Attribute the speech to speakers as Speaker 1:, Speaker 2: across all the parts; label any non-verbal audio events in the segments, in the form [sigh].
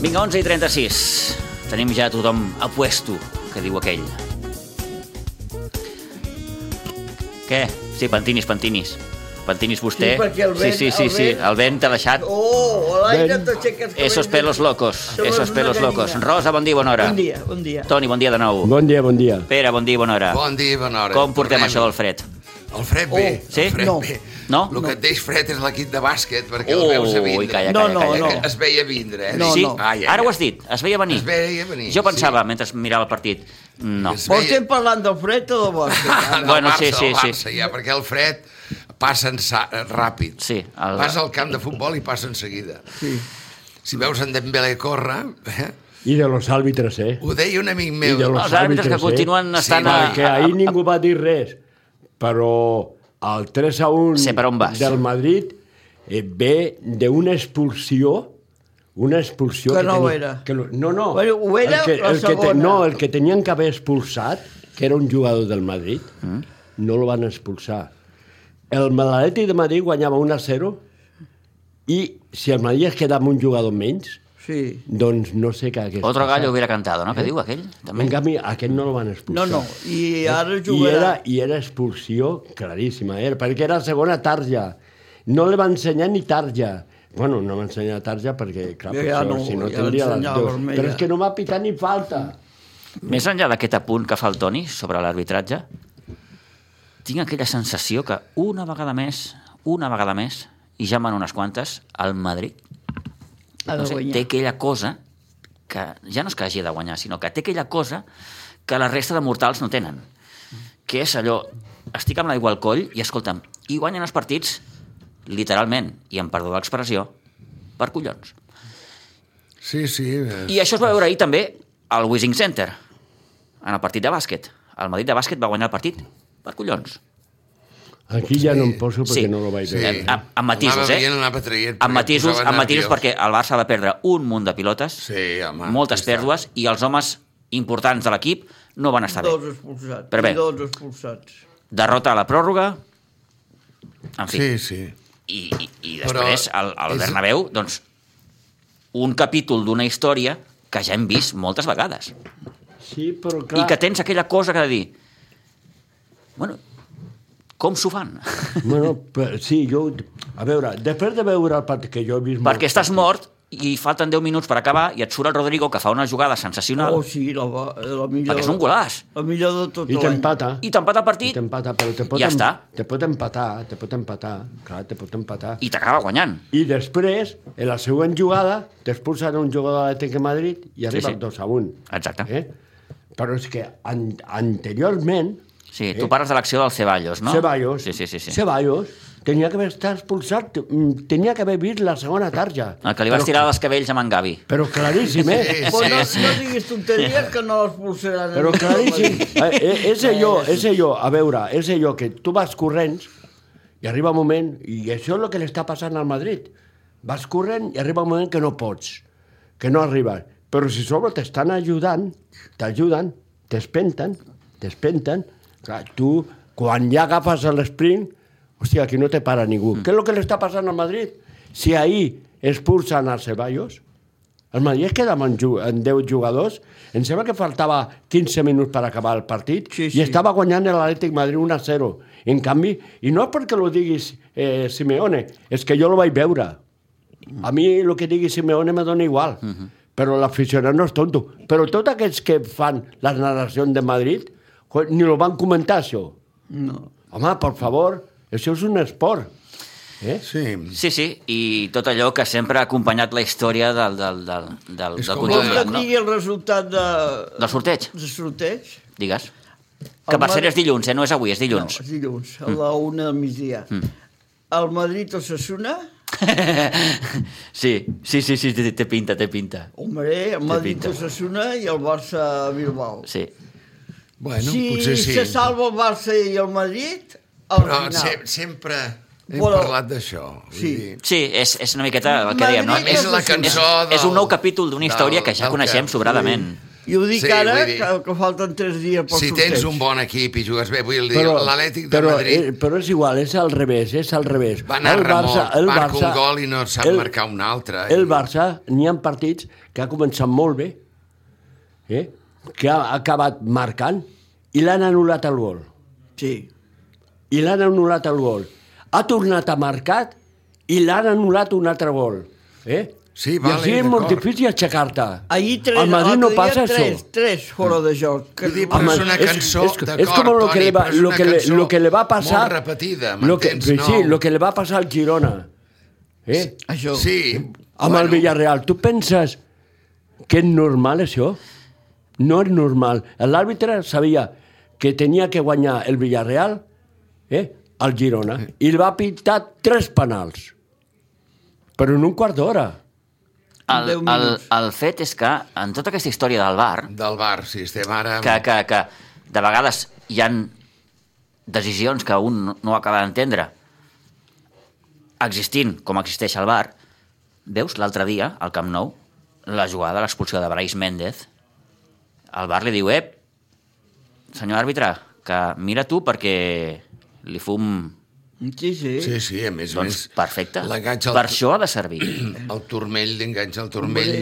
Speaker 1: Vinga, 11 i 36. Tenim ja tothom a puesto, que diu aquell. Què? Sí, pentinis, pentinis. Pentinis vostè.
Speaker 2: Sí, perquè el vent-
Speaker 1: sí, sí, sí,
Speaker 2: el
Speaker 1: sí,
Speaker 2: vent-
Speaker 1: el vent t'ha deixat.
Speaker 2: Oh, l'aire
Speaker 3: Ben.
Speaker 2: t'aixeques... que
Speaker 1: Esos
Speaker 2: vens-
Speaker 1: pelos locos,
Speaker 2: Això
Speaker 1: esos
Speaker 2: és una
Speaker 1: pelos locos.
Speaker 2: gallina.
Speaker 1: Rosa, bon dia, bona hora.
Speaker 2: Un dia, un dia.
Speaker 1: Toni, bon dia de nou.
Speaker 3: Bon dia, bon dia.
Speaker 1: Pere, bon dia, bona hora.
Speaker 4: Bon dia, i bona hora.
Speaker 1: Ah. Com portem
Speaker 4: Tornem-hi.
Speaker 1: això del fred?
Speaker 4: El fred bé.
Speaker 2: Oh,
Speaker 1: sí?
Speaker 4: El fred
Speaker 2: No.
Speaker 4: bé.
Speaker 1: No?
Speaker 4: El que et deix fred és l'equip de bàsquet, perquè
Speaker 1: Ui,
Speaker 4: el veus a vindre.
Speaker 1: calla, calla,
Speaker 2: No, no,
Speaker 1: calla.
Speaker 2: no.
Speaker 1: calla.
Speaker 4: Es veia vindre, eh?
Speaker 2: No,
Speaker 1: sí?
Speaker 2: no.
Speaker 4: Ai, ai,
Speaker 1: Ara
Speaker 4: ai.
Speaker 1: ho has dit, es veia venir.
Speaker 4: Es veia venir,
Speaker 1: Jo pensava,
Speaker 4: sí.
Speaker 1: mentre mirava el partit, no.
Speaker 4: Es
Speaker 2: Portem parlant del fred o
Speaker 1: [laughs]
Speaker 2: del bosc?
Speaker 4: Ah, del
Speaker 1: Bueno,
Speaker 4: Barça,
Speaker 1: sí, sí,
Speaker 4: del Barça,
Speaker 1: sí.
Speaker 4: Ja, perquè el fred passa en sa... ràpid.
Speaker 1: Sí, el-
Speaker 4: El... Vas al camp de futbol i passa en seguida. Sí. Si veus en Dembélé córrer, eh?
Speaker 3: I de los àrbitres, eh?
Speaker 4: ho deia un amic meu.
Speaker 3: I de los
Speaker 1: Els àrbitres que
Speaker 3: àrbitres, eh?
Speaker 1: continuen
Speaker 4: Sí,
Speaker 1: estant... a-
Speaker 3: Perquè ahir ningú va dir res, però el 3 a 1
Speaker 1: Sé per on vas.
Speaker 3: del Madrid eh, ve d'una expulsió una expulsió
Speaker 2: Que no
Speaker 3: teni-
Speaker 2: ho era.
Speaker 3: Que no, no, no.
Speaker 2: Bueno, ho era
Speaker 3: el que,
Speaker 2: la
Speaker 3: el que
Speaker 2: segona.
Speaker 3: no, el que tenien que haver expulsat, que era un jugador del Madrid, mm. no el van expulsar. El Madaleti de Madrid guanyava 1 a 0 i si el Madrid es quedava amb un jugador menys,
Speaker 2: Sí.
Speaker 3: doncs no sé què hagués
Speaker 1: Otro
Speaker 3: passat.
Speaker 1: gallo hubiera cantado, no? Que diu aquell?
Speaker 3: En canvi, aquest no el van expulsar. Eh?
Speaker 2: No, no. I ara
Speaker 3: I era,
Speaker 2: jugarà...
Speaker 3: I era expulsió claríssima, eh? perquè era segona tarja. No li va ensenyar ni tarja. Bueno, no va ensenyar tarja perquè, clar,
Speaker 2: Ja,
Speaker 3: ja,
Speaker 2: ja
Speaker 3: potser,
Speaker 2: no,
Speaker 3: no, si no
Speaker 2: ja
Speaker 3: tindria les
Speaker 2: l'ensenyava
Speaker 3: dues.
Speaker 2: vermella.
Speaker 3: Però és que no va pitar ni falta.
Speaker 1: Més enllà d'aquest apunt que fa el Toni sobre l'arbitratge, tinc aquella sensació que una vegada més, una vegada més, i ja en van unes quantes, el Madrid
Speaker 2: Ha de
Speaker 1: no sé,
Speaker 2: guanyar.
Speaker 1: té aquella cosa que ja no és que hagi de guanyar, sinó que té aquella cosa que la resta de mortals no tenen, que és allò, estic amb l'aigua al coll i escolta'm, i guanyen els partits literalment, i amb perdó d'expressió, per collons.
Speaker 4: Sí, sí. eh, I...
Speaker 1: I això es va veure ahir també al Wishing Center, en el partit de bàsquet. El Madrid de bàsquet va guanyar el partit per collons.
Speaker 3: Aquí ja no em poso perquè
Speaker 1: Sí.
Speaker 3: no lo vaig
Speaker 4: Sí.
Speaker 3: veure.
Speaker 1: Eh, a- amb matisos,
Speaker 4: Anava
Speaker 1: eh?
Speaker 4: veient, anava traient, perquè
Speaker 1: amb matisos,
Speaker 4: posava
Speaker 1: amb matisos
Speaker 4: nerviós.
Speaker 1: perquè el Barça va perdre un munt de pilotes,
Speaker 4: Sí, home,
Speaker 1: moltes
Speaker 4: ja està.
Speaker 1: pèrdues, i els homes importants de l'equip no van estar
Speaker 2: Dos
Speaker 1: bé.
Speaker 2: expulsats.
Speaker 1: Però bé.
Speaker 2: I dos expulsats.
Speaker 1: Derrota a la pròrroga, en fi,
Speaker 4: Sí, sí.
Speaker 1: i, i, i
Speaker 4: Però
Speaker 1: després al, al
Speaker 4: és-
Speaker 1: Bernabéu, doncs, un capítol d'una història que ja hem vist moltes vegades.
Speaker 3: Sí, però
Speaker 1: Clar.
Speaker 3: clar...
Speaker 1: i que tens aquella cosa que de dir bueno, com s'ho fan? [laughs]
Speaker 3: Bueno, però, sí, jo... A veure, després de veure el partit que jo he vist...
Speaker 1: perquè
Speaker 3: molt-
Speaker 1: estàs mort i falten 10 minuts per acabar i et surt el Rodrigo que fa una jugada sensacional
Speaker 2: Oh, sí, la, va- la millor...
Speaker 1: perquè és un golaç
Speaker 2: La millor de tot
Speaker 3: I
Speaker 2: l'any.
Speaker 3: t'empata.
Speaker 1: i t'empata el
Speaker 3: I
Speaker 1: partit
Speaker 3: t'empata, però te pot,
Speaker 1: Ja
Speaker 3: em-
Speaker 1: està.
Speaker 3: te pot empatar, te pot empatar, clar, te pot empatar.
Speaker 1: i t'acaba guanyant
Speaker 3: I després, en la següent jugada, t'expulsen un jugador de l'Atlètic de Madrid i arriba
Speaker 1: sí.
Speaker 3: sí, sí. 2 a 1.
Speaker 1: Exacte.
Speaker 3: Eh? Però és que an anteriorment,
Speaker 1: sí, tu parles de l'acció del Ceballos no?
Speaker 3: Ceballos,
Speaker 1: sí, sí, sí, sí.
Speaker 3: Ceballos tenia que haver estat expulsat, mm, tenia que haver vist la segona tarja.
Speaker 1: el Ah, que li vas
Speaker 3: Però-
Speaker 1: tirar dels cabells a Mangavi
Speaker 3: Però claríssim, eh?
Speaker 2: Però no, no diguis tonteries que no l'expulsaran.
Speaker 3: Però claríssim, eh, eh, és allò, és allò, a veure, és allò que tu vas corrents i arriba un moment, i això és el que li està passant al Madrid, vas corrent i arriba un moment que no pots, que no arribes, però si a sobre t'estan ajudant, t'ajuden, t'espenten, t'espenten, clar, tu, quan ja agafes l'esprint, hòstia, aquí no te para ningú. Mm. Què és el que li està passant al Madrid? Si ahir expulsen a Ceballos, el Madrid es queda amb, en ju- amb 10 jugadors. Em sembla que faltava 15 minuts per acabar el partit
Speaker 2: Sí,
Speaker 3: i
Speaker 2: sí.
Speaker 3: estava guanyant l'Atlètic Madrid 1 a 0. En canvi, i no és perquè ho diguis eh, Simeone, és que jo lo vaig veure. A mi el que digui Simeone me dona igual,
Speaker 2: Mhm.
Speaker 3: però l'aficionat no és tonto. Però tots aquests que fan les narracions de Madrid jo, ni lo van comentar, això.
Speaker 2: No.
Speaker 3: Home, per favor, això és un esport. Eh?
Speaker 4: Sí.
Speaker 1: sí, sí, i tot allò que sempre ha acompanyat la història del, del, del, del,
Speaker 4: És
Speaker 1: del
Speaker 4: com
Speaker 1: conjunt
Speaker 2: Vols que
Speaker 1: del,
Speaker 2: et
Speaker 1: no?
Speaker 2: digui el resultat de...
Speaker 1: del sorteig,
Speaker 2: de sorteig?
Speaker 1: digues que per
Speaker 2: Madrid-
Speaker 1: cert és dilluns, eh? no és avui, és dilluns
Speaker 2: No, és dilluns,
Speaker 1: Mm.
Speaker 2: a la una del migdia. El Madrid Osasuna,
Speaker 1: [laughs] sí, sí, sí, sí, té, té pinta, té pinta.
Speaker 2: hombre, el Madrid
Speaker 1: pinta.
Speaker 2: Osasuna i el Barça Bilbao.
Speaker 1: Sí.
Speaker 4: Bueno,
Speaker 2: si
Speaker 4: potser sí.
Speaker 2: se salva el Barça i el Madrid, al
Speaker 4: Però
Speaker 2: final.
Speaker 4: se sempre hem
Speaker 2: Però-
Speaker 4: parlat d'això. vull
Speaker 2: Sí.
Speaker 4: dir,
Speaker 1: Sí, és, és una miqueta el que dèiem, no?
Speaker 2: Madrid
Speaker 4: És la
Speaker 2: Osasuna.
Speaker 4: cançó
Speaker 1: és,
Speaker 4: del,
Speaker 1: és un nou capítol d'una història
Speaker 4: del-
Speaker 1: que ja
Speaker 4: del
Speaker 1: coneixem sobradament.
Speaker 2: I I ho dic
Speaker 4: Sí,
Speaker 2: sí, ara,
Speaker 4: vull dir-
Speaker 2: dir... que, que falten tres dies pel
Speaker 4: Si
Speaker 2: sorteig.
Speaker 4: tens un bon equip i jugues bé, vull dir,
Speaker 3: Però-
Speaker 4: l'Atlètic de
Speaker 3: però,
Speaker 4: Madrid...
Speaker 3: eh, però és igual, és al revés, és al revés.
Speaker 4: Va anar
Speaker 3: el Barça,
Speaker 4: remot,
Speaker 3: el
Speaker 4: marca
Speaker 3: Barça,
Speaker 4: un gol i no sap
Speaker 3: el-
Speaker 4: marcar un altre.
Speaker 3: El
Speaker 4: I-
Speaker 3: Barça, n'hi ha partits que ha començat molt bé, eh? que ha acabat marcant, i l'han anul·lat el gol.
Speaker 2: Sí.
Speaker 3: I l'han anul·lat el gol. Ha tornat a marcat i l'han anul·lat un altre gol. Eh?
Speaker 4: Sí,
Speaker 3: I
Speaker 4: vale,
Speaker 3: així és molt
Speaker 4: d'acord.
Speaker 3: difícil aixecar-te.
Speaker 2: Ahir tres,
Speaker 3: Al Madrid no
Speaker 2: l'altre dia
Speaker 3: passa
Speaker 2: tres,
Speaker 3: això.
Speaker 2: tres fora de joc. Que...
Speaker 4: Vull dir, però
Speaker 3: Home,
Speaker 4: és una cançó,
Speaker 3: és, és, és
Speaker 4: d'acord,
Speaker 3: com lo que,
Speaker 4: Toni,
Speaker 3: le va,
Speaker 4: però és
Speaker 3: lo
Speaker 4: una
Speaker 3: que, le,
Speaker 4: cançó
Speaker 3: lo que le va passar...
Speaker 4: molt repetida,
Speaker 3: lo que,
Speaker 4: m'entens,
Speaker 3: sí,
Speaker 4: no?
Speaker 3: Sí, lo que le va passar al Girona. Eh?
Speaker 2: Això.
Speaker 4: Sí.
Speaker 3: amb bueno. el Villarreal. Tu penses que és normal això? No és normal. L'àrbitre sabia que tenia que guanyar el Villarreal eh, al Girona i el va pintar tres penals. Però en un quart d'hora.
Speaker 1: El,
Speaker 2: Deu
Speaker 1: el,
Speaker 2: minuts.
Speaker 1: el fet és que en tota aquesta història del bar,
Speaker 4: Del bar, si estem ara... amb-
Speaker 1: que, que, que de vegades hi han decisions que un no- no acaba d'entendre existint com existeix el bar, veus l'altre dia al Camp Nou la jugada de l'expulsió de Brais Méndez el bar li diu ep, senyor àrbitre que mira tu perquè li fum
Speaker 2: Sí, sí.
Speaker 4: Sí, sí, a més a
Speaker 1: doncs
Speaker 4: més...
Speaker 1: perfecte
Speaker 4: L'enganxa
Speaker 1: per
Speaker 4: al,
Speaker 1: això ha de
Speaker 4: [clears throat]
Speaker 1: servir
Speaker 4: el turmell, l'enganxa al turmell,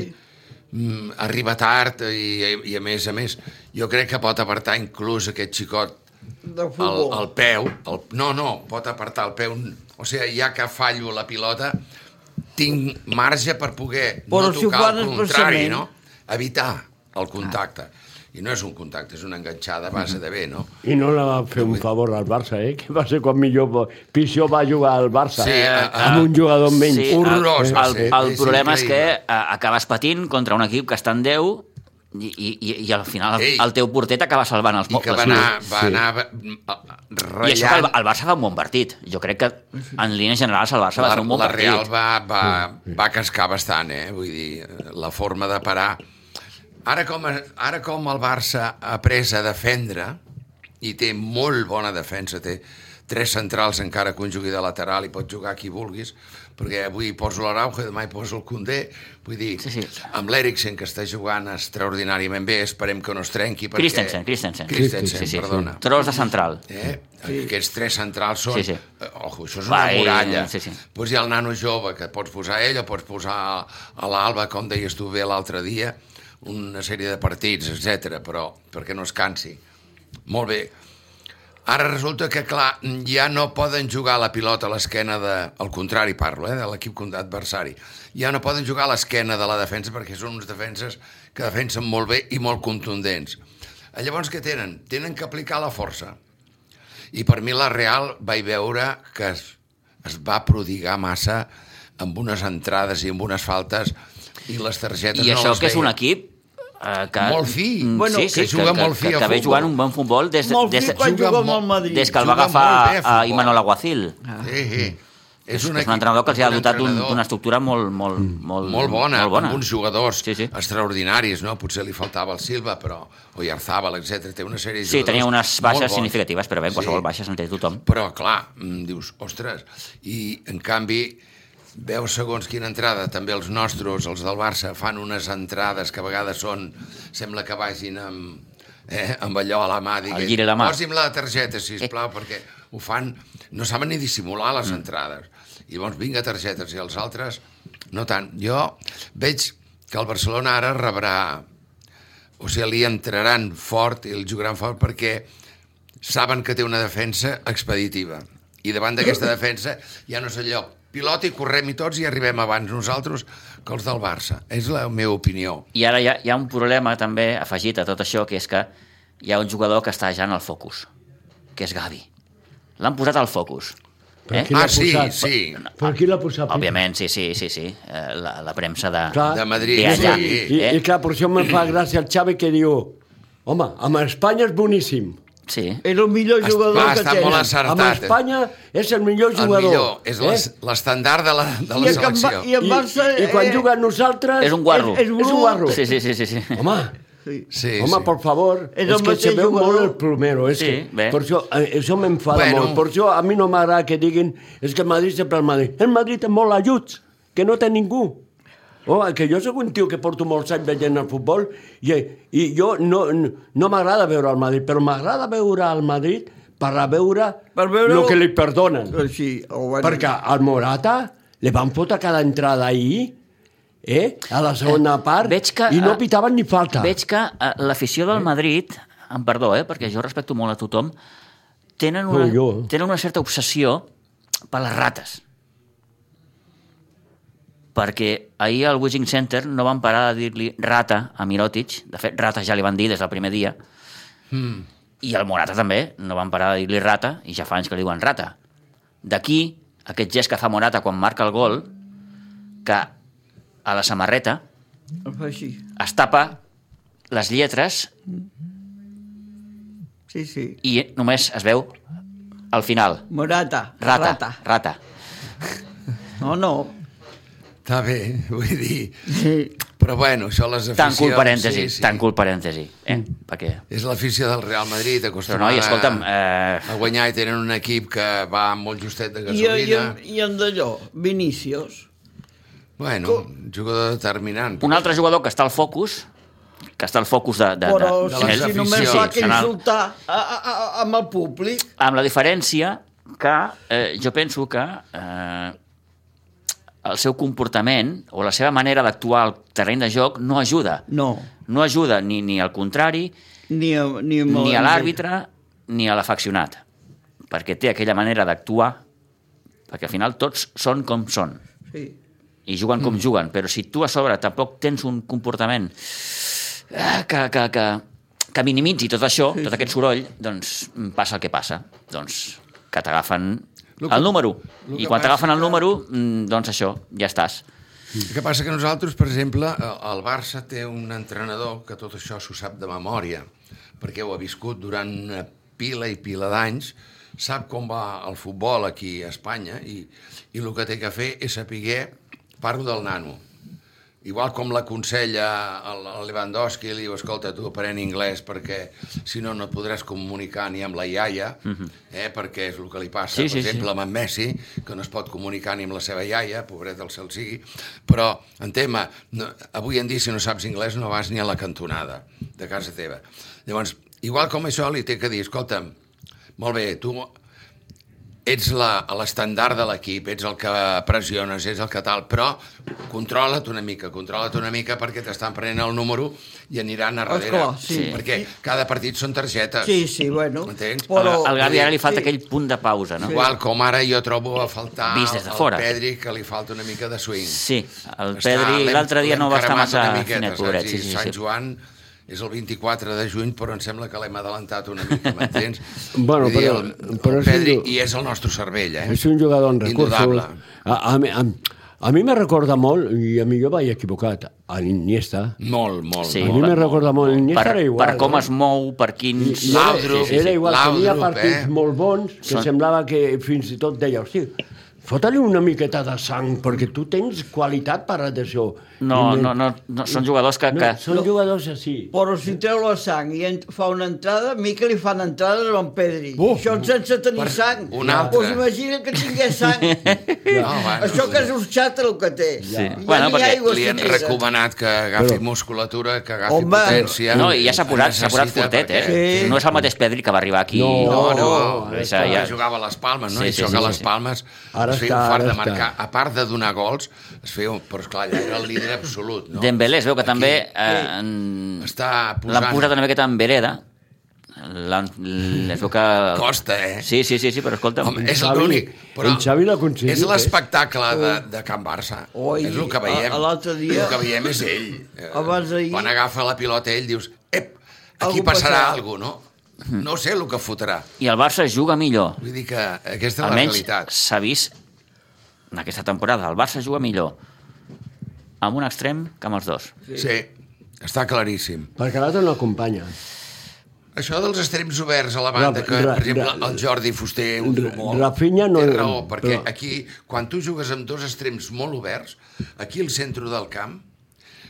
Speaker 4: mm, arriba tard i, i a més a més, jo crec que pot apartar inclús aquest xicot
Speaker 2: De
Speaker 4: el,
Speaker 2: futbol.
Speaker 4: el peu, el, no, no, pot apartar el peu, o sigui, ja que fallo la pilota, tinc marge per poder
Speaker 2: Però
Speaker 4: no
Speaker 2: si ho
Speaker 4: tocar
Speaker 2: fan
Speaker 4: el contrari,
Speaker 2: expressament.
Speaker 4: no? Evitar el contacte. I no és un contacte, és una enganxada a
Speaker 2: Mhm.
Speaker 4: base de bé, no?
Speaker 3: I no la va fer un favor al Barça, eh? Que va ser quan millor, pitjor va jugar al Barça.
Speaker 4: Sí, a- a-
Speaker 3: amb un jugador menys.
Speaker 1: Sí, eh,
Speaker 4: Horrorós va
Speaker 1: El,
Speaker 4: ser,
Speaker 1: el, el
Speaker 4: és
Speaker 1: problema és que
Speaker 4: increïble.
Speaker 1: eh, acabes patint contra un equip que està en 10 i, i, i, i al final
Speaker 4: Ei.
Speaker 1: el, el teu porter t'acaba salvant els
Speaker 4: I que
Speaker 1: pobles.
Speaker 4: va anar, va
Speaker 3: sí.
Speaker 4: anar eh, ratllant...
Speaker 1: I això que el, el Barça fa un bon partit. Jo crec que, en línies generals, el Barça va
Speaker 4: la,
Speaker 1: fer un bon
Speaker 4: la
Speaker 1: partit.
Speaker 4: Real va, va,
Speaker 1: Mm.
Speaker 4: Mm. va cascar bastant, eh? Vull dir, la forma de parar... Ara com, ara com el Barça ha après a defendre, i té molt bona defensa, té tres centrals encara que un jugui de lateral i pot jugar qui vulguis, perquè avui poso l'Araujo, demà hi poso el Condé, vull dir,
Speaker 1: Sí, sí.
Speaker 4: amb l'Eriksen, que està jugant extraordinàriament bé, esperem que no es trenqui, perquè...
Speaker 1: Christensen, Christensen.
Speaker 4: Christensen,
Speaker 1: Sí, sí,
Speaker 4: perdona.
Speaker 1: Sí. Tros de central.
Speaker 4: Eh? Sí. Aquests tres centrals són...
Speaker 1: Sí, sí.
Speaker 4: eh, Ojo, això és una
Speaker 1: Va, eh,
Speaker 4: muralla.
Speaker 1: sí, sí.
Speaker 4: Pues hi ha el nano jove, que pots posar ell o pots posar a l'Alba, com deies tu bé l'altre dia, una sèrie de partits, etc però perquè no es cansi. Molt bé. Ara resulta que, clar, ja no poden jugar la pilota a l'esquena de... Al contrari, parlo, eh, de l'equip adversari. Ja no poden jugar a l'esquena de la defensa perquè són uns defenses que defensen molt bé i molt contundents. Eh, Llavors, què tenen? Tenen que aplicar la força. I per mi la Real vaig veure que es, es va prodigar massa amb unes entrades i amb unes faltes i les targetes
Speaker 1: I
Speaker 4: no
Speaker 1: això
Speaker 4: les
Speaker 1: que és un
Speaker 4: veia.
Speaker 1: equip eh, que,
Speaker 4: Molt fi.
Speaker 1: Mm,
Speaker 4: Bueno,
Speaker 1: sí, sí,
Speaker 4: que juga molt fi
Speaker 1: que, que,
Speaker 4: a
Speaker 1: que ve
Speaker 4: futbol.
Speaker 1: jugant un bon futbol des,
Speaker 2: Molt
Speaker 1: des,
Speaker 2: fi quan
Speaker 4: juga
Speaker 2: juga amb
Speaker 4: molt-
Speaker 2: el Madrid.
Speaker 1: des que el va
Speaker 4: juga
Speaker 1: agafar
Speaker 4: molt bé a
Speaker 1: a,
Speaker 4: futbol.
Speaker 1: Imanol Aguacil.
Speaker 4: Sí, sí.
Speaker 1: Mm. És, un, és
Speaker 4: equip,
Speaker 1: un entrenador que els ha
Speaker 4: un
Speaker 1: dotat d'un-
Speaker 4: entrenador
Speaker 1: d'una estructura molt, molt,
Speaker 3: Mm.
Speaker 1: molt,
Speaker 4: molt bona,
Speaker 1: molt bona.
Speaker 4: amb uns jugadors
Speaker 1: Sí, sí.
Speaker 4: extraordinaris, no? Potser li faltava el Silva, però o Iarzabal, etc. Té una sèrie de
Speaker 1: Sí,
Speaker 4: jugadors
Speaker 1: tenia unes
Speaker 4: molt
Speaker 1: baixes
Speaker 4: bons.
Speaker 1: significatives, però bé, qualsevol baixes en té tothom.
Speaker 4: Però, clar, mm, dius, ostres, i en canvi veus segons quina entrada, també els nostres, els del Barça, fan unes entrades que a vegades són, sembla que vagin amb, eh, amb allò a la mà, diguem,
Speaker 1: gir a la mà.
Speaker 4: posi'm la targeta,
Speaker 1: [laughs]
Speaker 4: sisplau, perquè ho fan, no saben ni dissimular les
Speaker 1: Mm.
Speaker 4: entrades. I llavors, vinga, targetes, i els altres, no tant. Jo veig que el Barcelona ara rebrà, o sigui, li entraran fort i el jugaran fort perquè saben que té una defensa expeditiva. I
Speaker 1: [laughs]
Speaker 4: davant d'aquesta defensa ja no és allò, pilota i correm-hi tots i arribem abans nosaltres que els del Barça. És la meva opinió.
Speaker 1: I ara hi ha, hi ha un problema també afegit a tot això, que és que hi ha un jugador que està ja en el focus, que és Gavi. L'han posat al focus.
Speaker 3: Però
Speaker 1: Eh?
Speaker 3: qui
Speaker 4: Ah,
Speaker 3: l'ha
Speaker 4: sí,
Speaker 3: posat?
Speaker 4: sí.
Speaker 3: Per qui l'ha posat?
Speaker 1: Òbviament, sí, sí, sí, sí. Eh, La, la premsa de,
Speaker 3: Ah, Clar.
Speaker 4: De Madrid,
Speaker 1: de allà.
Speaker 4: sí.
Speaker 1: Sí,
Speaker 3: I,
Speaker 1: eh?
Speaker 3: I clar, per això em fa gràcia el Xavi que diu home, amb Espanya és boníssim.
Speaker 1: sí.
Speaker 2: Era el millor
Speaker 4: Est-
Speaker 2: jugador
Speaker 4: va,
Speaker 2: que
Speaker 4: està
Speaker 2: tenen.
Speaker 4: molt
Speaker 3: Amb
Speaker 4: encertat.
Speaker 3: Espanya és el millor
Speaker 4: El
Speaker 3: jugador. eh?"
Speaker 4: millor, és l'es- l'estandard de la, de
Speaker 2: eh? I
Speaker 4: la
Speaker 2: el que em va-
Speaker 4: selecció.
Speaker 2: i el Barça,
Speaker 3: I, I quan
Speaker 2: eh,
Speaker 3: juga amb nosaltres...
Speaker 1: És un guarro.
Speaker 2: És- és
Speaker 3: És un
Speaker 2: brut.
Speaker 3: guarro.
Speaker 1: Sí, sí, sí, sí. sí.
Speaker 3: Home,
Speaker 2: Sí.
Speaker 4: Sí,
Speaker 3: sí, home,
Speaker 4: sí.
Speaker 3: sí. per favor,
Speaker 2: És
Speaker 3: és,
Speaker 2: el
Speaker 3: que se
Speaker 2: mateix
Speaker 3: veu
Speaker 2: jugador.
Speaker 3: molt el plomero. És
Speaker 1: Sí,
Speaker 3: que,
Speaker 1: bé.
Speaker 3: per això, eh, això m'enfada
Speaker 4: Bueno.
Speaker 3: molt. Per això a mi no m'agrada que diguin és que el Madrid sempre el Madrid. El Madrid té molt ajuts, que no té ningú. Oh, que jo sóc un tio que porto molts anys veient el futbol i, i jo no, no, no m'agrada veure el Madrid, però m'agrada veure el Madrid per a veure,
Speaker 2: Per veure-ho-
Speaker 3: el que li perdonen.
Speaker 2: Així, ho van...
Speaker 3: Perquè al Morata li van fotre cada entrada ahir, eh? a la segona
Speaker 1: Eh,
Speaker 3: part,
Speaker 1: veig que,
Speaker 3: i no
Speaker 1: eh,
Speaker 3: pitaven ni falta.
Speaker 1: Veig que eh, l'afició del Madrid, amb perdó, eh, perquè jo respecto molt a tothom, tenen una,
Speaker 3: No, jo, eh.
Speaker 1: tenen una certa obsessió per les rates. Perquè ahir al Wishing Center no van parar de dir-li rata a Mirotic, de fet, rata ja li van dir des del primer dia, mm.
Speaker 3: Hmm.
Speaker 1: i al Morata també, no van parar de dir-li rata, i ja fa anys que li diuen rata. D'aquí, aquest gest que fa Morata quan marca el gol, que a la samarreta
Speaker 2: Ho fa així.
Speaker 1: es tapa les lletres
Speaker 2: Sí, sí.
Speaker 1: i només es veu al final.
Speaker 2: Morata.
Speaker 1: Rata, rata.
Speaker 2: Rata. No, no.
Speaker 4: Està bé, [laughs] vull dir...
Speaker 2: Sí.
Speaker 4: Però bueno, això les aficions...
Speaker 1: Tanco el parèntesi,
Speaker 4: sí, sí.
Speaker 1: tanco el parèntesi. Eh?
Speaker 2: Mm.
Speaker 1: Perquè...
Speaker 4: És l'afició del Real Madrid,
Speaker 1: Però,
Speaker 4: acostumada
Speaker 1: noi, escolta'm,
Speaker 4: a,
Speaker 1: eh,
Speaker 4: a guanyar i tenen un equip que va molt justet de
Speaker 2: I, i,
Speaker 4: gasolina.
Speaker 2: en- I en d'allò, Vinícius.
Speaker 4: Bueno, un jugador determinant.
Speaker 1: un altre jugador que està al focus, que està al focus de... de,
Speaker 2: Però
Speaker 1: de,
Speaker 4: si-
Speaker 1: en
Speaker 2: si,
Speaker 1: el-
Speaker 2: si
Speaker 4: aficions.
Speaker 2: només fa que
Speaker 1: en el-
Speaker 2: insultar a, a, a, amb el públic,
Speaker 1: amb la diferència que eh, jo penso que eh, el seu comportament o la seva manera d'actuar al terreny de joc no ajuda.
Speaker 2: no.
Speaker 1: No ajuda ni, ni al contrari,
Speaker 2: Ni a, ni, amb
Speaker 1: ni a
Speaker 2: el-
Speaker 1: l'àrbitre ni a l'afeccionat, perquè té aquella manera d'actuar, perquè al final tots són com són
Speaker 2: Sí.
Speaker 1: i juguen
Speaker 4: Mm.
Speaker 1: com juguen, però si tu a sobre tampoc tens un comportament eh, que, que, que, que minimitzi tot això, tot aquest soroll, doncs mm, passa el que passa. Doncs que t'agafen
Speaker 4: Lo que-
Speaker 1: el número.
Speaker 4: lo
Speaker 1: I
Speaker 4: que
Speaker 1: quan t'agafen
Speaker 4: passa
Speaker 1: el
Speaker 4: que-
Speaker 1: número, mm, doncs això, ja estàs.
Speaker 4: El que passa que nosaltres, per exemple, eh, el Barça té un entrenador que tot això s'ho sap de memòria, perquè ho ha viscut durant una pila i pila d'anys, sap com va el futbol aquí a Espanya i, i el que té que fer és saber, parlo del nano, igual com l'aconsella el el Lewandowski, li diu, escolta, tu apren anglès perquè si no no et podràs comunicar ni amb la iaia, eh, perquè és el que li passa,
Speaker 1: Mhm. Sí, sí,
Speaker 4: per
Speaker 1: sí.
Speaker 4: exemple, amb en Messi, que no es pot comunicar ni amb la seva iaia, pobret el cel sigui, però en tema, no, avui en dia si no saps anglès no vas ni a la cantonada de casa teva. Llavors, igual com això li té que dir, escolta'm, molt bé, tu ets la- l'estandard de l'equip, ets el que pressiones, ets el que tal, però controla't una mica, controla't una mica perquè t'estan prenent el número i aniran a darrere.
Speaker 2: Esclar, sí.
Speaker 4: Perquè cada partit són targetes.
Speaker 2: Sí, sí, bueno.
Speaker 4: Entens?
Speaker 1: Però, al Gavi ara li falta
Speaker 2: sí.
Speaker 1: aquell punt de pausa, no?
Speaker 4: Igual com ara jo trobo a faltar
Speaker 1: Vist des de
Speaker 4: al
Speaker 1: fora.
Speaker 4: Pedri que li falta una mica de swing.
Speaker 1: Sí, el
Speaker 4: Està-
Speaker 1: Pedri
Speaker 4: l'hem-
Speaker 1: l'altre dia
Speaker 4: l'hem
Speaker 1: no va estar
Speaker 4: cremat
Speaker 1: massa
Speaker 4: una miqueta,
Speaker 1: finet,
Speaker 4: saps?
Speaker 1: pobret.
Speaker 4: I
Speaker 1: Sí, sí,
Speaker 4: Sant
Speaker 1: sí.
Speaker 4: Joan és el 24 de juny, però em sembla que l'hem adelantat una mica,
Speaker 1: [laughs]
Speaker 4: m'entens?
Speaker 3: Bueno,
Speaker 4: Vull dir,
Speaker 3: però-
Speaker 4: el,
Speaker 3: però
Speaker 4: el
Speaker 3: és
Speaker 4: Pedri,
Speaker 3: un-
Speaker 4: i és el nostre cervell, eh?
Speaker 3: És un jugador en recursos.
Speaker 4: Indudable.
Speaker 3: A, a, mi- a, a mi me recorda molt, i a mi jo vaig equivocat, a l'Iniesta.
Speaker 4: Molt, molt,
Speaker 1: Sí.
Speaker 3: A mi
Speaker 4: molt.
Speaker 3: me recorda molt, l'Iniesta
Speaker 1: Per,
Speaker 3: era igual.
Speaker 1: per com
Speaker 3: eh?
Speaker 1: es mou, per quins...
Speaker 3: I era-
Speaker 4: Laudrup,
Speaker 1: sí, sí,
Speaker 3: Era
Speaker 1: sí.
Speaker 3: igual, tenia
Speaker 4: Laudrup,
Speaker 3: partits
Speaker 4: eh?
Speaker 3: molt bons que
Speaker 1: Són-
Speaker 3: semblava que fins i tot deia, hosti, fota-li una miqueta de sang, perquè tu tens qualitat per a això.
Speaker 1: No,
Speaker 3: I
Speaker 1: no, no, no, són jugadors que...
Speaker 3: no,
Speaker 1: que...
Speaker 3: Són jugadors així.
Speaker 2: Però si treu la sang i en- fa una entrada, a mi que li fan entrades amb Pedri. Uh, Això sense tenir
Speaker 4: Per-
Speaker 2: sang.
Speaker 4: un altre.
Speaker 2: Us imagina que tingués
Speaker 1: [laughs]
Speaker 2: sang.
Speaker 4: No, Ah, bueno, doncs,
Speaker 2: Això que és urxat el que té.
Speaker 1: Sí.
Speaker 2: Ja
Speaker 1: Bueno,
Speaker 2: ni
Speaker 1: perquè
Speaker 2: aigua
Speaker 4: li han
Speaker 2: s'hi mira.
Speaker 4: recomanat que agafi
Speaker 3: Però-
Speaker 4: musculatura, que agafi
Speaker 2: Home.
Speaker 4: potència.
Speaker 1: No, i ja s'ha posat, s'ha posat
Speaker 4: Necessita
Speaker 1: fortet, eh?
Speaker 4: perquè-
Speaker 1: No és el mateix Pedri que va arribar aquí.
Speaker 3: No,
Speaker 4: No, no,
Speaker 3: Oh,
Speaker 4: no
Speaker 1: Això ja...
Speaker 4: jugava a les Palmes, no?
Speaker 1: Sí, sí,
Speaker 4: Sí, sí, I això
Speaker 1: sí,
Speaker 4: que a
Speaker 1: sí,
Speaker 4: les
Speaker 1: sí.
Speaker 4: Palmes
Speaker 3: Ara
Speaker 4: es feia
Speaker 3: està,
Speaker 4: un fart
Speaker 3: ara
Speaker 4: de
Speaker 3: està.
Speaker 4: marcar, a part de donar gols, es feia un... Però esclar, allà era el líder absolut, no?
Speaker 1: Dembélé es veu que
Speaker 4: Aquí
Speaker 1: també eh, en-
Speaker 4: Està
Speaker 1: l'han
Speaker 4: posant...
Speaker 1: posat una miqueta en vereda. L'han... Es veu que...
Speaker 4: Costa, eh?
Speaker 1: Sí, sí, sí, sí, però escolta'm...
Speaker 4: Home, és
Speaker 3: Xavi-
Speaker 4: l'únic. però
Speaker 3: en Xavi l'ha aconseguit,
Speaker 4: És l'espectacle de, de Can Barça.
Speaker 2: Oi,
Speaker 4: és el que veiem.
Speaker 2: a- a l'altre dia-
Speaker 4: El que veiem és ell. Eh,
Speaker 2: Abans d'ahir-
Speaker 4: Quan agafa la pilota ell dius, ep, aquí
Speaker 2: Algú
Speaker 4: passarà
Speaker 2: passarà."
Speaker 4: alguna cosa, no? No sé el que fotrà.
Speaker 1: I el Barça juga millor.
Speaker 4: Vull dir que aquesta és la
Speaker 1: Almenys
Speaker 4: realitat.
Speaker 1: s'ha vist en aquesta temporada. El Barça juga millor amb un extrem que amb els dos.
Speaker 4: Sí, està claríssim.
Speaker 3: Perquè l'altre no acompanya.
Speaker 4: Això dels extrems oberts a la banda,
Speaker 3: Ra-
Speaker 4: que, per
Speaker 3: ra-
Speaker 4: exemple,
Speaker 3: ra-
Speaker 4: el Jordi Fuster ho diu
Speaker 3: Ra-
Speaker 4: molt.
Speaker 3: Rafinha no-
Speaker 4: Té raó, perquè
Speaker 3: però-
Speaker 4: aquí, quan tu jugues amb dos extrems molt oberts, aquí al centre del camp,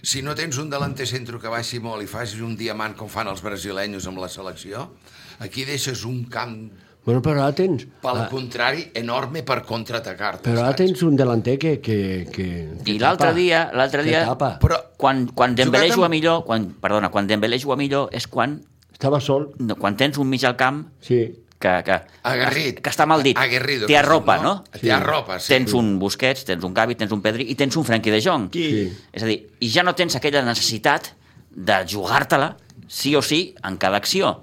Speaker 4: si no tens un delanter centre que baixi molt i facis un diamant com fan els brasilenys amb la selecció, aquí deixes un camp
Speaker 3: Bueno, però ara tens...
Speaker 4: Pel
Speaker 3: ah,
Speaker 4: contrari, enorme per contraatacar-te,
Speaker 3: Però ara
Speaker 4: saps?
Speaker 3: tens un delanter que... que, que que
Speaker 1: I l'altre
Speaker 3: tapa.
Speaker 1: dia, l'altre
Speaker 3: Que
Speaker 1: dia
Speaker 3: tapa.
Speaker 1: però, quan, quan Dembélé
Speaker 4: Jugat amb-
Speaker 1: juga millor, quan, perdona, quan Dembélé juga millor és quan,
Speaker 3: Estava sol,
Speaker 1: no, quan tens un mig al camp
Speaker 3: sí.
Speaker 1: que, que,
Speaker 4: Aguerrit.
Speaker 1: que està mal dit.
Speaker 4: Aguerrido,
Speaker 1: Té
Speaker 4: que es diu,
Speaker 1: arropa, no?
Speaker 4: no? Té arropa, sí.
Speaker 1: Tens un Busquets, tens un Gavi, tens un Pedri i tens un Frenkie de Jong.
Speaker 2: Sí.
Speaker 3: Sí.
Speaker 1: És a dir, i ja no tens aquella necessitat de jugar-te-la sí o sí en cada acció.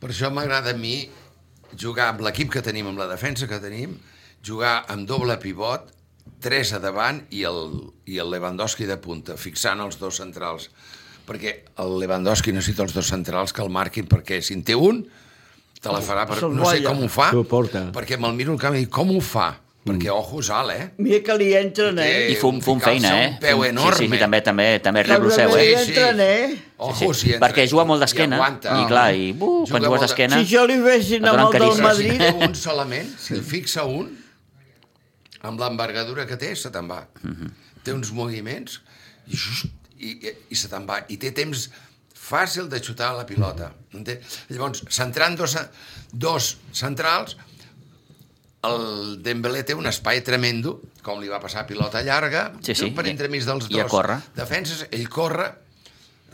Speaker 4: Per això m'agrada a mi jugar amb l'equip que tenim, amb la defensa que tenim, jugar amb doble pivot, tres a davant i el, i el Lewandowski de punta, fixant els dos centrals. Perquè el Lewandowski necessita els dos centrals que el marquin, perquè si en té un, te la farà. Per...
Speaker 2: Se'l
Speaker 4: No sé
Speaker 2: guanya.
Speaker 4: com ho fa,
Speaker 3: T'ho porta.
Speaker 4: perquè me'l miro al camp i dic, com ho fa? Perquè
Speaker 1: Mm.
Speaker 4: ojo, sal, eh?
Speaker 2: Mira que li entren, eh?
Speaker 1: I fum, fum
Speaker 4: Ficar-se
Speaker 1: feina,
Speaker 4: un
Speaker 1: eh?
Speaker 4: peu
Speaker 1: Fum- Sí, sí,
Speaker 4: enorme.
Speaker 1: sí, també, també, també
Speaker 2: Que
Speaker 1: rebro seu,
Speaker 2: Però
Speaker 1: eh?
Speaker 2: hi entren, eh?
Speaker 4: Ojo, si entren.
Speaker 1: Perquè juga molt d'esquena,
Speaker 4: I aguanta.
Speaker 1: i clar, i, buh, quan jugues
Speaker 4: molt de-
Speaker 1: d'esquena-
Speaker 2: Si jo li
Speaker 1: Et
Speaker 2: fessin
Speaker 1: donen
Speaker 2: amb el del
Speaker 1: carícies.
Speaker 2: Madrid...
Speaker 4: Té un solament, si el fixa un, amb l'envergadura que té, se te'n va. Té uns moviments i, xux, i, i, i se te'n va. I té temps fàcil de xutar la pilota. Entén? Llavors, centrant dos, dos centrals, el Dembélé té un espai tremendo, com li va passar a pilota llarga,
Speaker 1: Sí, sí,
Speaker 4: per
Speaker 1: i-
Speaker 4: entremig dels
Speaker 1: i
Speaker 4: dos
Speaker 1: a córrer.
Speaker 4: defenses, ell corre,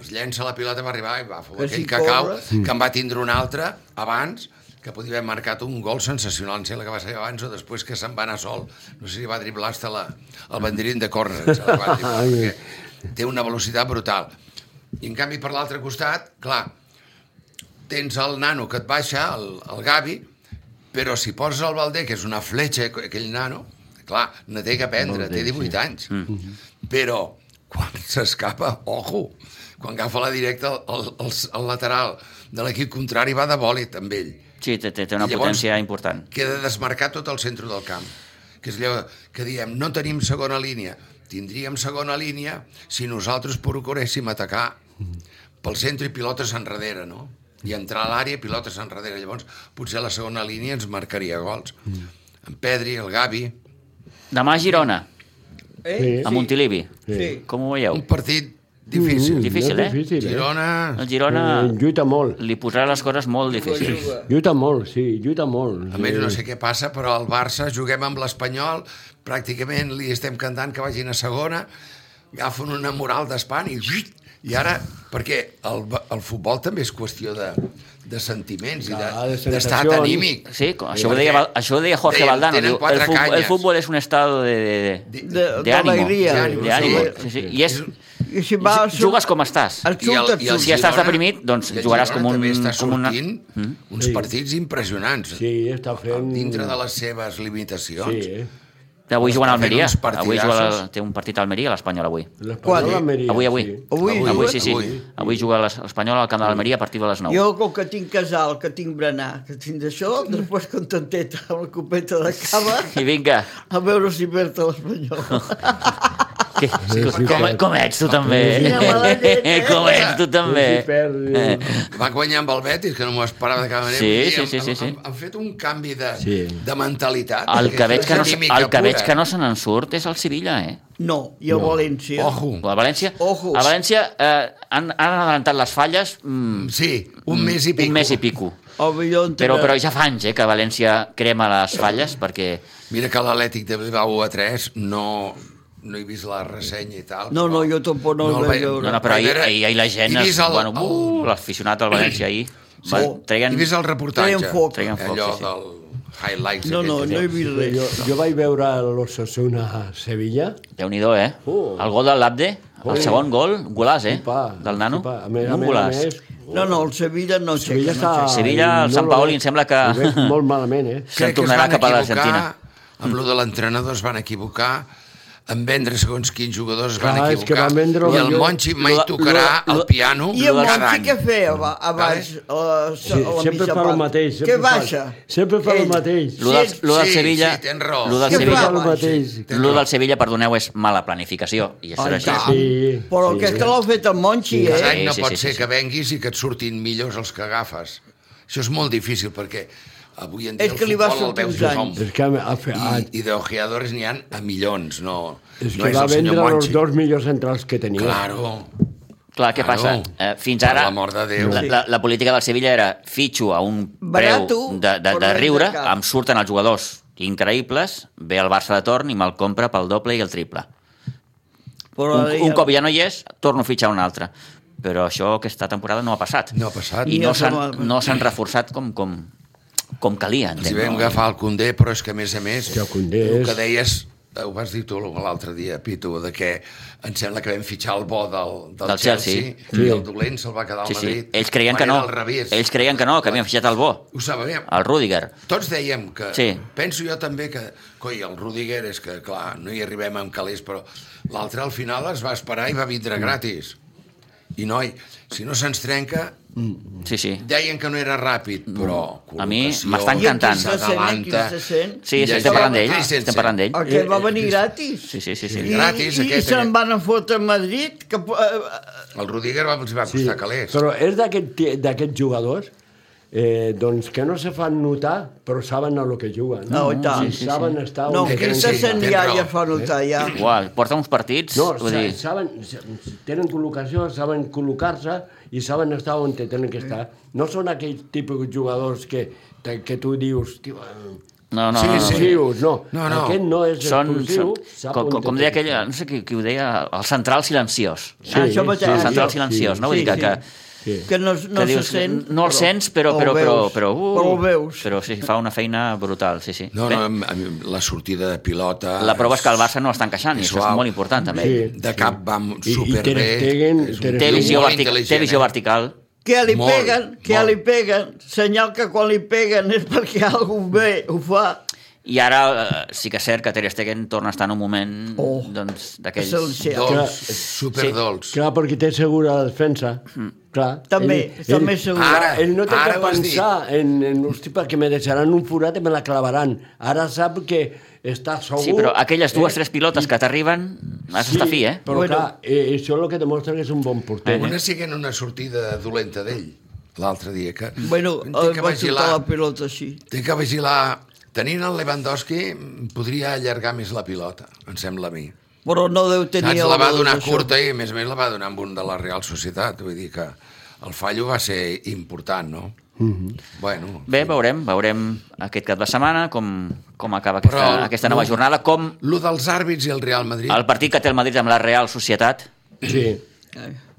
Speaker 4: es llença la pilota, va arribar i va fumar
Speaker 2: Que si
Speaker 4: aquell cacau,
Speaker 2: corres.
Speaker 4: que en va tindre un altre abans, que podia haver marcat un gol sensacional, no sé la que va ser abans o després que se'n va anar sol. No sé si va driblar hasta la, el banderín de córner, se la va driblar, perquè té una velocitat brutal. I en canvi, per l'altre costat, clar, tens el nano que et baixa, el, el Gavi, però si poses el Valdé, que és una fletxa, aquell nano, clar, no té que aprendre, té 18 anys. Però quan [laughs] s'escapa, ojo, quan agafa la directa el, el, el lateral de l'equip contrari va de bòlit amb ell.
Speaker 1: Sí, té, té té una
Speaker 4: I llavors-
Speaker 1: potència important.
Speaker 4: Queda desmarcat tot el centre del camp. Que és allò que diem, no tenim segona línia. Tindríem segona línia si nosaltres procuréssim atacar pel centre i pilotes enrere, no? I entrar a l'àrea i pilotes enrere. Llavors, potser la segona línia ens marcaria gols.
Speaker 1: Mm.
Speaker 4: En Pedri, el Gavi...
Speaker 1: Demà a Girona,
Speaker 2: Eh?
Speaker 3: Sí.
Speaker 1: a Montilivi.
Speaker 2: Sí.
Speaker 1: Com ho veieu?
Speaker 4: Un partit difícil.
Speaker 1: Mm. Difícil, eh?
Speaker 3: Difícil, eh?
Speaker 1: El
Speaker 4: Girona,
Speaker 1: Girona
Speaker 3: Eh, Lluita molt.
Speaker 1: li posarà les coses molt difícils.
Speaker 2: Juga.
Speaker 3: Lluita molt, sí, lluita molt.
Speaker 4: a més no sé què passa, però el Barça juguem amb l'Espanyol, pràcticament li estem cantant que vagin a segona, agafen una moral d'espant i... I ara, perquè el, ba- el futbol també és qüestió de, de sentiments i
Speaker 3: Clar, de
Speaker 4: de- d'estat
Speaker 3: sensacions.
Speaker 4: anímic.
Speaker 1: Sí, com- això ho,
Speaker 4: Perquè
Speaker 1: deia, Val- això ho deia Jorge
Speaker 4: deien,
Speaker 1: Valdano.
Speaker 4: tenen
Speaker 1: Diu, el,
Speaker 4: quatre
Speaker 1: futbol, el
Speaker 4: canyes.
Speaker 1: futbol és un estado de, de, de,
Speaker 4: De-
Speaker 2: de-
Speaker 1: de ánimo,
Speaker 2: d'alegria.
Speaker 1: de
Speaker 4: Sí,
Speaker 1: ánimo.
Speaker 4: sí.
Speaker 1: Sí, sí. I és,
Speaker 2: I si va... al sud-
Speaker 1: jugues com estàs.
Speaker 2: Al
Speaker 4: I el-
Speaker 2: sud et
Speaker 4: i el
Speaker 1: Si
Speaker 2: surt.
Speaker 1: estàs
Speaker 4: Girona-
Speaker 1: deprimit, doncs
Speaker 4: i el
Speaker 1: jugaràs
Speaker 4: Girona
Speaker 1: com un-
Speaker 4: També està
Speaker 1: com una- Mm.
Speaker 4: sortint uns partits impressionants,
Speaker 3: Eh, Sí, està fent...
Speaker 4: dintre de les seves limitacions.
Speaker 3: Sí, eh?
Speaker 1: Avui juguen a
Speaker 4: Està fent
Speaker 1: Almeria.
Speaker 4: uns
Speaker 1: Avui juga
Speaker 4: partidassos.
Speaker 1: la- té un partit a Almeria, l'Espanyol, avui.
Speaker 3: L'Espanyol
Speaker 2: Quan?
Speaker 3: Almeria,
Speaker 1: Avui, avui.
Speaker 3: Sí.
Speaker 2: Avui,
Speaker 1: Avui,
Speaker 2: avui.
Speaker 1: sí, sí. Avui, juga l'Es- l'Espanyol al camp de l'Almeria a partir de les 9.
Speaker 2: Jo, com que tinc casal, que tinc berenar, que tinc d'això, després contenteta amb la copeta de cava,
Speaker 1: I vinga,
Speaker 2: a veure si perd l'Espanyol.
Speaker 1: [laughs] que,
Speaker 3: [laughs] sí,
Speaker 1: com,
Speaker 3: sí.
Speaker 1: com ets tu també?
Speaker 2: Sí, malallet, eh?
Speaker 1: [laughs] Com ets tu també?
Speaker 3: Sí, perd, eh,
Speaker 4: Va guanyar amb el Betis, que no m'ho esperava de cap manera.
Speaker 1: Sí,
Speaker 4: Vull dir,
Speaker 1: sí,
Speaker 4: han-
Speaker 1: sí, sí, sí.
Speaker 4: Han, han, fet un canvi de, sí.
Speaker 3: Sí.
Speaker 4: de mentalitat.
Speaker 1: El
Speaker 4: perquè
Speaker 1: que veig
Speaker 4: és
Speaker 1: que no, se-
Speaker 4: anímica
Speaker 1: el que veig
Speaker 4: pura. eh?
Speaker 1: que no se n'en surt és el Sevilla, eh?
Speaker 2: No, i a València.
Speaker 4: Ojo.
Speaker 1: O el València,
Speaker 2: Ojo.
Speaker 1: a València eh, han, han adelantat les falles mm,
Speaker 4: Sí, un mes i pico.
Speaker 1: un mes i pico.
Speaker 2: O millor entre...
Speaker 1: Però, però ja fa anys eh, que València crema les falles perquè
Speaker 4: Mira que l'Atlètic de Bilbao a 3 no, no he vist la ressenya i tal.
Speaker 2: No, no,
Speaker 4: però-
Speaker 2: jo tampoc no el
Speaker 4: el
Speaker 2: vaig
Speaker 4: veig-
Speaker 2: veure.
Speaker 1: no, no, però ahir,
Speaker 4: veure-
Speaker 1: ahir, ahir la gent
Speaker 4: he
Speaker 1: es-
Speaker 4: vist el-
Speaker 1: bueno,
Speaker 4: el-
Speaker 1: uh, l'aficionat del València ahir va,
Speaker 4: Sí.
Speaker 1: treien,
Speaker 4: He vist el reportatge.
Speaker 2: Treien foc.
Speaker 1: Treien foc,
Speaker 4: allò
Speaker 1: sí, sí.
Speaker 4: del highlights.
Speaker 2: No, no,
Speaker 4: aquell que
Speaker 2: no he vist res.
Speaker 3: Jo, jo vaig veure l'Ossassuna a Sevilla.
Speaker 1: Déu-n'hi-do, eh?
Speaker 3: Uh.
Speaker 1: El gol de l'Abde, el
Speaker 3: Ui.
Speaker 1: segon gol, un golàs, eh?
Speaker 3: Pa,
Speaker 1: del nano.
Speaker 3: Pa. A més, a
Speaker 1: un
Speaker 3: més, a
Speaker 1: golàs.
Speaker 3: més,
Speaker 2: No, no, el Sevilla no aixeca.
Speaker 3: Sevilla està...
Speaker 2: No aixeca.
Speaker 1: Sevilla, el Sant Paoli, em sembla que-
Speaker 3: Ho veig molt malament, eh?
Speaker 1: Se'n
Speaker 4: Crec que es
Speaker 1: tornarà
Speaker 4: van
Speaker 1: cap a
Speaker 4: equivocar
Speaker 1: l'Argentina. Mm.
Speaker 4: Amb lo de l'entrenador es van equivocar, en vendre segons quins jugadors es van
Speaker 3: Clar, Ah, és que
Speaker 4: equivocar,
Speaker 3: van vendre
Speaker 4: i el
Speaker 3: millor-
Speaker 4: Monchi mai
Speaker 1: lo-
Speaker 4: tocarà
Speaker 1: lo-
Speaker 4: el
Speaker 1: lo-
Speaker 4: piano
Speaker 2: I el
Speaker 4: cada
Speaker 2: Monchi
Speaker 4: any.
Speaker 2: què feia aba- abans? eh, A la,
Speaker 3: Sí,
Speaker 2: a la
Speaker 3: sempre
Speaker 2: mitja
Speaker 3: fa
Speaker 2: part?
Speaker 3: el mateix.
Speaker 2: Què
Speaker 3: Sempre
Speaker 2: baixa?
Speaker 3: Fa, sempre fa el
Speaker 2: Ell.
Speaker 3: mateix.
Speaker 1: Lo del,
Speaker 2: Sí,
Speaker 1: lo del
Speaker 4: sí,
Speaker 1: Sevilla,
Speaker 4: sí, tens raó.
Speaker 1: lo del
Speaker 2: Què
Speaker 1: Sevilla,
Speaker 2: fa?
Speaker 3: el mateix.
Speaker 4: Tens
Speaker 1: lo
Speaker 4: raó.
Speaker 1: del Sevilla, perdoneu, és mala planificació. I això
Speaker 2: Ai,
Speaker 1: és així.
Speaker 2: tant. Però el que és que l'ha fet el Monchi,
Speaker 4: Cada
Speaker 2: eh?
Speaker 4: any no
Speaker 1: Sí, sí,
Speaker 4: pot
Speaker 1: sí,
Speaker 4: ser
Speaker 1: sí,
Speaker 4: que venguis i que et surtin millors els que agafes. Això és molt difícil, perquè avui en dia
Speaker 2: És
Speaker 4: el
Speaker 2: que li va
Speaker 4: futbol el
Speaker 2: sortir
Speaker 4: veus
Speaker 2: uns
Speaker 4: tothom.
Speaker 2: anys.
Speaker 3: És que ha, ha, fe- ha,
Speaker 4: I, i d'ojeadores n'hi han a milions, no,
Speaker 3: és
Speaker 4: no
Speaker 3: que
Speaker 4: és
Speaker 3: va
Speaker 4: el senyor
Speaker 3: vendre els
Speaker 4: Monchi.
Speaker 3: dos millors centrals que tenia.
Speaker 4: Claro.
Speaker 1: Clar, què
Speaker 4: Claro,
Speaker 1: passa? Eh, fins
Speaker 4: per
Speaker 1: ara,
Speaker 4: l'amor de Déu.
Speaker 1: La, la, la política del Sevilla era fitxo a un preu
Speaker 2: Barato,
Speaker 1: de, de,
Speaker 2: però
Speaker 1: de
Speaker 2: ben
Speaker 1: riure,
Speaker 2: de cap.
Speaker 1: em surten els jugadors increïbles, ve el Barça de torn i me'l compra pel doble i el triple.
Speaker 2: Però
Speaker 1: Un,
Speaker 2: ara
Speaker 1: un cop ja no hi és, torno a fitxar un altre. Però això aquesta temporada no ha passat.
Speaker 4: No ha passat.
Speaker 1: I
Speaker 2: Ja
Speaker 1: no
Speaker 2: se
Speaker 1: s'han
Speaker 2: m'ha-
Speaker 1: no s'han reforçat com, com, com calia,
Speaker 4: Els hi
Speaker 1: entenc.
Speaker 4: vam agafar el Condé, però és que a més a més...
Speaker 3: Hòstia, el Koundé
Speaker 4: El
Speaker 3: és-
Speaker 4: que deies, eh, ho vas dir tu l'altre dia, Pitu, de que em sembla que vam fitxar el bo del, del,
Speaker 1: Del Chelsea.
Speaker 4: i el dolent se'l va quedar al
Speaker 1: Sí, sí.
Speaker 4: Madrid.
Speaker 1: Ells creien
Speaker 4: Quan
Speaker 1: que
Speaker 4: era
Speaker 1: no.
Speaker 4: Al revés.
Speaker 1: Ells creien que no, que havien fitxat el bo,
Speaker 4: Ho sabíem.
Speaker 1: el Rüdiger.
Speaker 4: Tots dèiem que...
Speaker 1: Sí.
Speaker 4: Penso jo també que... Coi, el Rudiger és que, clar, no hi arribem amb calés, però l'altre al final es va esperar i va
Speaker 3: Mm.
Speaker 4: vindre gratis. I, noi, si no se'ns trenca,
Speaker 1: Sí, sí.
Speaker 4: deien que no era ràpid, però...
Speaker 1: A mi
Speaker 4: col·locació,
Speaker 1: m'està
Speaker 2: I aquí
Speaker 1: encantant.
Speaker 2: se
Speaker 4: eh,
Speaker 2: sent, aquí
Speaker 4: s'adalanta.
Speaker 2: se sent.
Speaker 1: Sí, sí,
Speaker 4: Ja
Speaker 1: estem
Speaker 4: hi ha
Speaker 1: parlant d'ell.
Speaker 4: Christensen.
Speaker 1: Estem parlant d'ell.
Speaker 2: El que va venir gratis.
Speaker 1: Sí, sí, sí. sí. eh.
Speaker 4: I- Gratis,
Speaker 2: I, i
Speaker 4: aquest,
Speaker 2: se'n
Speaker 4: aquest.
Speaker 2: van a fotre a Madrid, que eh,
Speaker 4: El Rudiger va, els va
Speaker 3: Sí,
Speaker 4: costar calés.
Speaker 3: però és d'aquest ti- d'aquests jugadors eh, doncs que no se fan notar, però saben a lo que juguen.
Speaker 1: Ah,
Speaker 2: No, i tant.
Speaker 3: I
Speaker 2: Sí, sí,
Speaker 3: saben estar...
Speaker 2: no,
Speaker 3: on
Speaker 4: que
Speaker 3: tenen
Speaker 4: sí,
Speaker 2: Christensen
Speaker 3: que
Speaker 4: tens
Speaker 2: ja,
Speaker 4: raó,
Speaker 2: ja fa notar, ja.
Speaker 1: Igual, porta uns partits...
Speaker 3: No,
Speaker 1: vull
Speaker 3: sa,
Speaker 1: dir,
Speaker 3: saben, tenen col·locació, saben col·locar-se i saben estar on te tenen que estar. No són aquells típics jugadors que, te- que tu dius... Tio, eh,
Speaker 1: no, no,
Speaker 4: Sí,
Speaker 1: no, no,
Speaker 4: sí.
Speaker 3: explosius, no.
Speaker 4: No, no.
Speaker 3: Aquest no és
Speaker 1: Són,
Speaker 3: explosiu.
Speaker 1: són
Speaker 3: sap
Speaker 1: com,
Speaker 3: on
Speaker 1: com,
Speaker 3: te
Speaker 1: com
Speaker 3: té
Speaker 1: deia
Speaker 3: que
Speaker 1: aquella, no sé qui, qui ho deia, el central silenciós.
Speaker 3: Sí,
Speaker 2: Ah, això mateix.
Speaker 1: El
Speaker 2: sí,
Speaker 1: central
Speaker 2: sí,
Speaker 1: silenciós, no? Vull
Speaker 2: sí,
Speaker 1: dir que, que,
Speaker 3: Sí.
Speaker 2: Que no,
Speaker 1: que
Speaker 2: no
Speaker 1: dius,
Speaker 2: se sent...
Speaker 1: no el sents, però,
Speaker 2: o
Speaker 1: però,
Speaker 2: el
Speaker 1: però,
Speaker 2: veus,
Speaker 1: però, uh,
Speaker 2: però ho veus.
Speaker 1: però sí, fa una feina brutal, sí, sí.
Speaker 4: No,
Speaker 1: Bé,
Speaker 4: no, a mi la sortida de pilota...
Speaker 1: la prova és que el Barça no l'estan encaixant, i
Speaker 4: és
Speaker 1: això és
Speaker 4: suau.
Speaker 1: molt important, també.
Speaker 3: Sí.
Speaker 4: De cap va
Speaker 3: I- i
Speaker 4: superbé.
Speaker 3: Ter Stegen-
Speaker 4: És un
Speaker 3: Ter
Speaker 4: tio
Speaker 1: Té
Speaker 3: Stegen-
Speaker 1: visió,
Speaker 4: molt
Speaker 1: vertic
Speaker 4: intel·ligent,
Speaker 1: té visió
Speaker 4: eh?
Speaker 1: vertical.
Speaker 2: Que li
Speaker 4: Molt,
Speaker 2: peguen, que
Speaker 4: molt.
Speaker 2: li peguen. Senyal que quan li peguen és perquè algú bé ho fa.
Speaker 1: I ara eh, sí que és cert que Ter Stegen torna a estar en un moment
Speaker 2: Oh,
Speaker 1: doncs,
Speaker 2: Són
Speaker 1: d'aquells...
Speaker 2: cert.
Speaker 4: Dolç,
Speaker 3: Clar.
Speaker 4: superdolç.
Speaker 3: Clar, perquè té segura la defensa.
Speaker 1: Mm.
Speaker 3: Clar.
Speaker 2: També, està més segur.
Speaker 4: Ara,
Speaker 3: Ell no té
Speaker 4: ara
Speaker 3: que
Speaker 4: ho has
Speaker 3: pensar en, en hosti, perquè me deixaran un forat i me la clavaran. Ara sap que està segur... Eh,
Speaker 1: Sí, però aquelles dues,
Speaker 2: Eh,
Speaker 1: tres pilotes que t'arriben, has d'estar fi, eh?
Speaker 3: Però
Speaker 2: Bueno.
Speaker 3: bueno. clar, eh, això és el que demostra que és un bon porter.
Speaker 4: Una siguen una sortida dolenta d'ell, l'altre dia. Que...
Speaker 2: Bueno,
Speaker 4: té
Speaker 2: el
Speaker 4: Mm. que
Speaker 2: va
Speaker 4: vigilar,
Speaker 2: xutar la pilota així.
Speaker 4: té que vigilar... Tenint el Lewandowski, mm, podria allargar més la pilota, em sembla a mi.
Speaker 2: Però no deu tenir...
Speaker 4: Saps, la va
Speaker 2: el-
Speaker 4: donar
Speaker 2: això.
Speaker 4: curta i, a més a més, la va donar amb un de la Real Societat. Vull dir que el fallo va ser important, no? Mm -hmm. Bueno,
Speaker 1: Bé, veurem, veurem aquest cap de setmana com, com acaba aquesta,
Speaker 4: Però-
Speaker 1: aquesta nova
Speaker 4: no.
Speaker 1: jornada, com
Speaker 4: Lo dels àrbits i el Real Madrid. Ah,
Speaker 1: el partit que té el Madrid amb la Real Societat.
Speaker 3: Sí.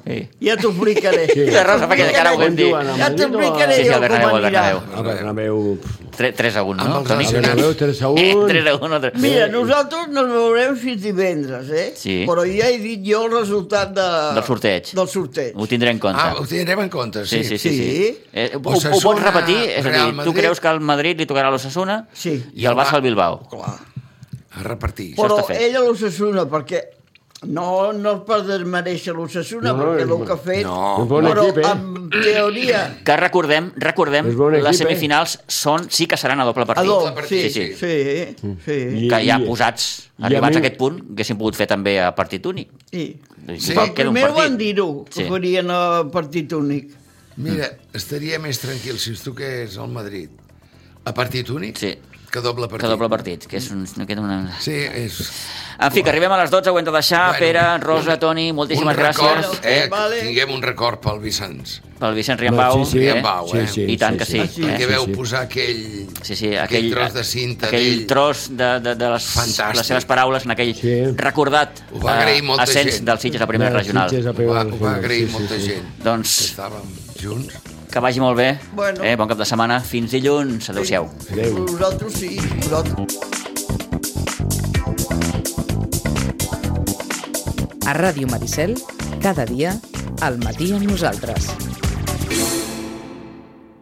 Speaker 1: Sí.
Speaker 2: Ja t'ho explicaré.
Speaker 3: Sí.
Speaker 1: I la Rosa fa aquella cara, ho vam dir.
Speaker 3: On juguen,
Speaker 2: Ja
Speaker 3: Madrid
Speaker 2: t'ho
Speaker 3: o a-
Speaker 2: explicaré
Speaker 1: Sí, sí,
Speaker 2: jo
Speaker 1: al Bernabéu,
Speaker 2: com
Speaker 1: al
Speaker 2: anirà.
Speaker 1: Bernabéu.
Speaker 3: A Bernabéu...
Speaker 1: 3 a 1,
Speaker 4: Amb
Speaker 1: no,
Speaker 4: els
Speaker 1: Toni?
Speaker 3: A
Speaker 1: [laughs]
Speaker 4: aficionats.
Speaker 3: Bernabéu 3 a 1.
Speaker 1: Eh, 3 a 1, 3
Speaker 2: Mira, nosaltres no ens veurem fins divendres, eh?
Speaker 1: Sí.
Speaker 2: Però ja he dit jo el resultat de...
Speaker 1: Del sorteig.
Speaker 2: Del sorteig.
Speaker 1: Ho tindré en compte.
Speaker 4: Ah, ho tindrem en compte, sí.
Speaker 1: Sí, sí, sí. sí.
Speaker 2: Sí.
Speaker 1: Eh, ho, ho,
Speaker 4: Osasuna,
Speaker 1: pots repetir? És a dir,
Speaker 4: Real
Speaker 1: tu
Speaker 4: Madrid.
Speaker 1: creus que al Madrid li tocarà a l'Ossassuna
Speaker 2: Sí.
Speaker 1: i el Barça al Bilbao.
Speaker 2: Clar.
Speaker 4: A repartir.
Speaker 1: Però-
Speaker 2: Però
Speaker 1: està fet.
Speaker 2: ella l'Ossassuna, perquè no, no es per desmereixer l'Ossassuna,
Speaker 3: No, no,
Speaker 2: no, perquè
Speaker 3: és
Speaker 2: el
Speaker 3: bo-
Speaker 2: que ha fet...
Speaker 4: No.
Speaker 3: És bon
Speaker 2: però
Speaker 3: equip, eh?
Speaker 2: en teoria...
Speaker 1: Que recordem, recordem,
Speaker 3: És bon equip,
Speaker 1: les
Speaker 3: eh?
Speaker 1: semifinals són, sí que seran a doble
Speaker 2: A
Speaker 1: partit.
Speaker 2: doble, sí,
Speaker 4: partit,
Speaker 2: sí,
Speaker 4: sí.
Speaker 2: sí. sí, sí.
Speaker 1: Que ja
Speaker 3: I-
Speaker 1: posats,
Speaker 3: i a
Speaker 1: arribats a,
Speaker 3: mi-
Speaker 1: aquest punt, haguéssim pogut fer també a partit únic.
Speaker 2: sí.
Speaker 4: Sí.
Speaker 1: Total, queda un
Speaker 2: Primer
Speaker 1: partit.
Speaker 2: van dir-ho, que
Speaker 1: Sí.
Speaker 2: farien a partit únic.
Speaker 4: Mira, estaria més tranquil si es toqués al Madrid a partit únic
Speaker 1: Sí.
Speaker 4: que doble partit.
Speaker 1: Que doble partit, que és un, no queda una...
Speaker 4: Sí, és...
Speaker 1: En fi, que arribem a les 12, ho hem de deixar.
Speaker 4: Bueno,
Speaker 1: Bueno, Pere, Rosa, Toni, moltíssimes
Speaker 4: un record,
Speaker 1: gràcies
Speaker 4: eh, que
Speaker 2: Vale.
Speaker 4: tinguem un record pel Vicenç.
Speaker 1: pel Vicenç Riambau.
Speaker 3: No, sí, sí.
Speaker 1: eh?
Speaker 4: Riambau, eh?
Speaker 1: I tant que sí,
Speaker 2: Ah, sí.
Speaker 1: eh?
Speaker 4: Eh, que veu
Speaker 3: sí.
Speaker 4: posar aquell,
Speaker 1: Sí, sí, aquell,
Speaker 4: tros de cinta
Speaker 1: aquell
Speaker 4: d'ell.
Speaker 1: tros de, de, de les,
Speaker 4: Fantàstic.
Speaker 1: les seves paraules en aquell sí.
Speaker 3: Sí.
Speaker 1: recordat
Speaker 4: Ho va agrair
Speaker 1: eh,
Speaker 4: molta
Speaker 1: ascens
Speaker 4: gent.
Speaker 1: del Sitges a primera
Speaker 3: Dels
Speaker 1: regional.
Speaker 3: Sitges a
Speaker 4: Ho
Speaker 3: primera
Speaker 4: va, ho va
Speaker 3: regional,
Speaker 4: agrair
Speaker 3: sí, sí,
Speaker 4: molta
Speaker 3: sí.
Speaker 4: gent.
Speaker 1: Doncs
Speaker 4: que Estàvem junts.
Speaker 1: que vagi molt bé.
Speaker 2: Bueno.
Speaker 1: Eh, bon cap de setmana. Fins dilluns. Adéu-siau.
Speaker 3: Adéu.
Speaker 2: Nosaltres sí, nosaltres...
Speaker 5: A Ràdio Maricel, cada dia, al matí amb nosaltres.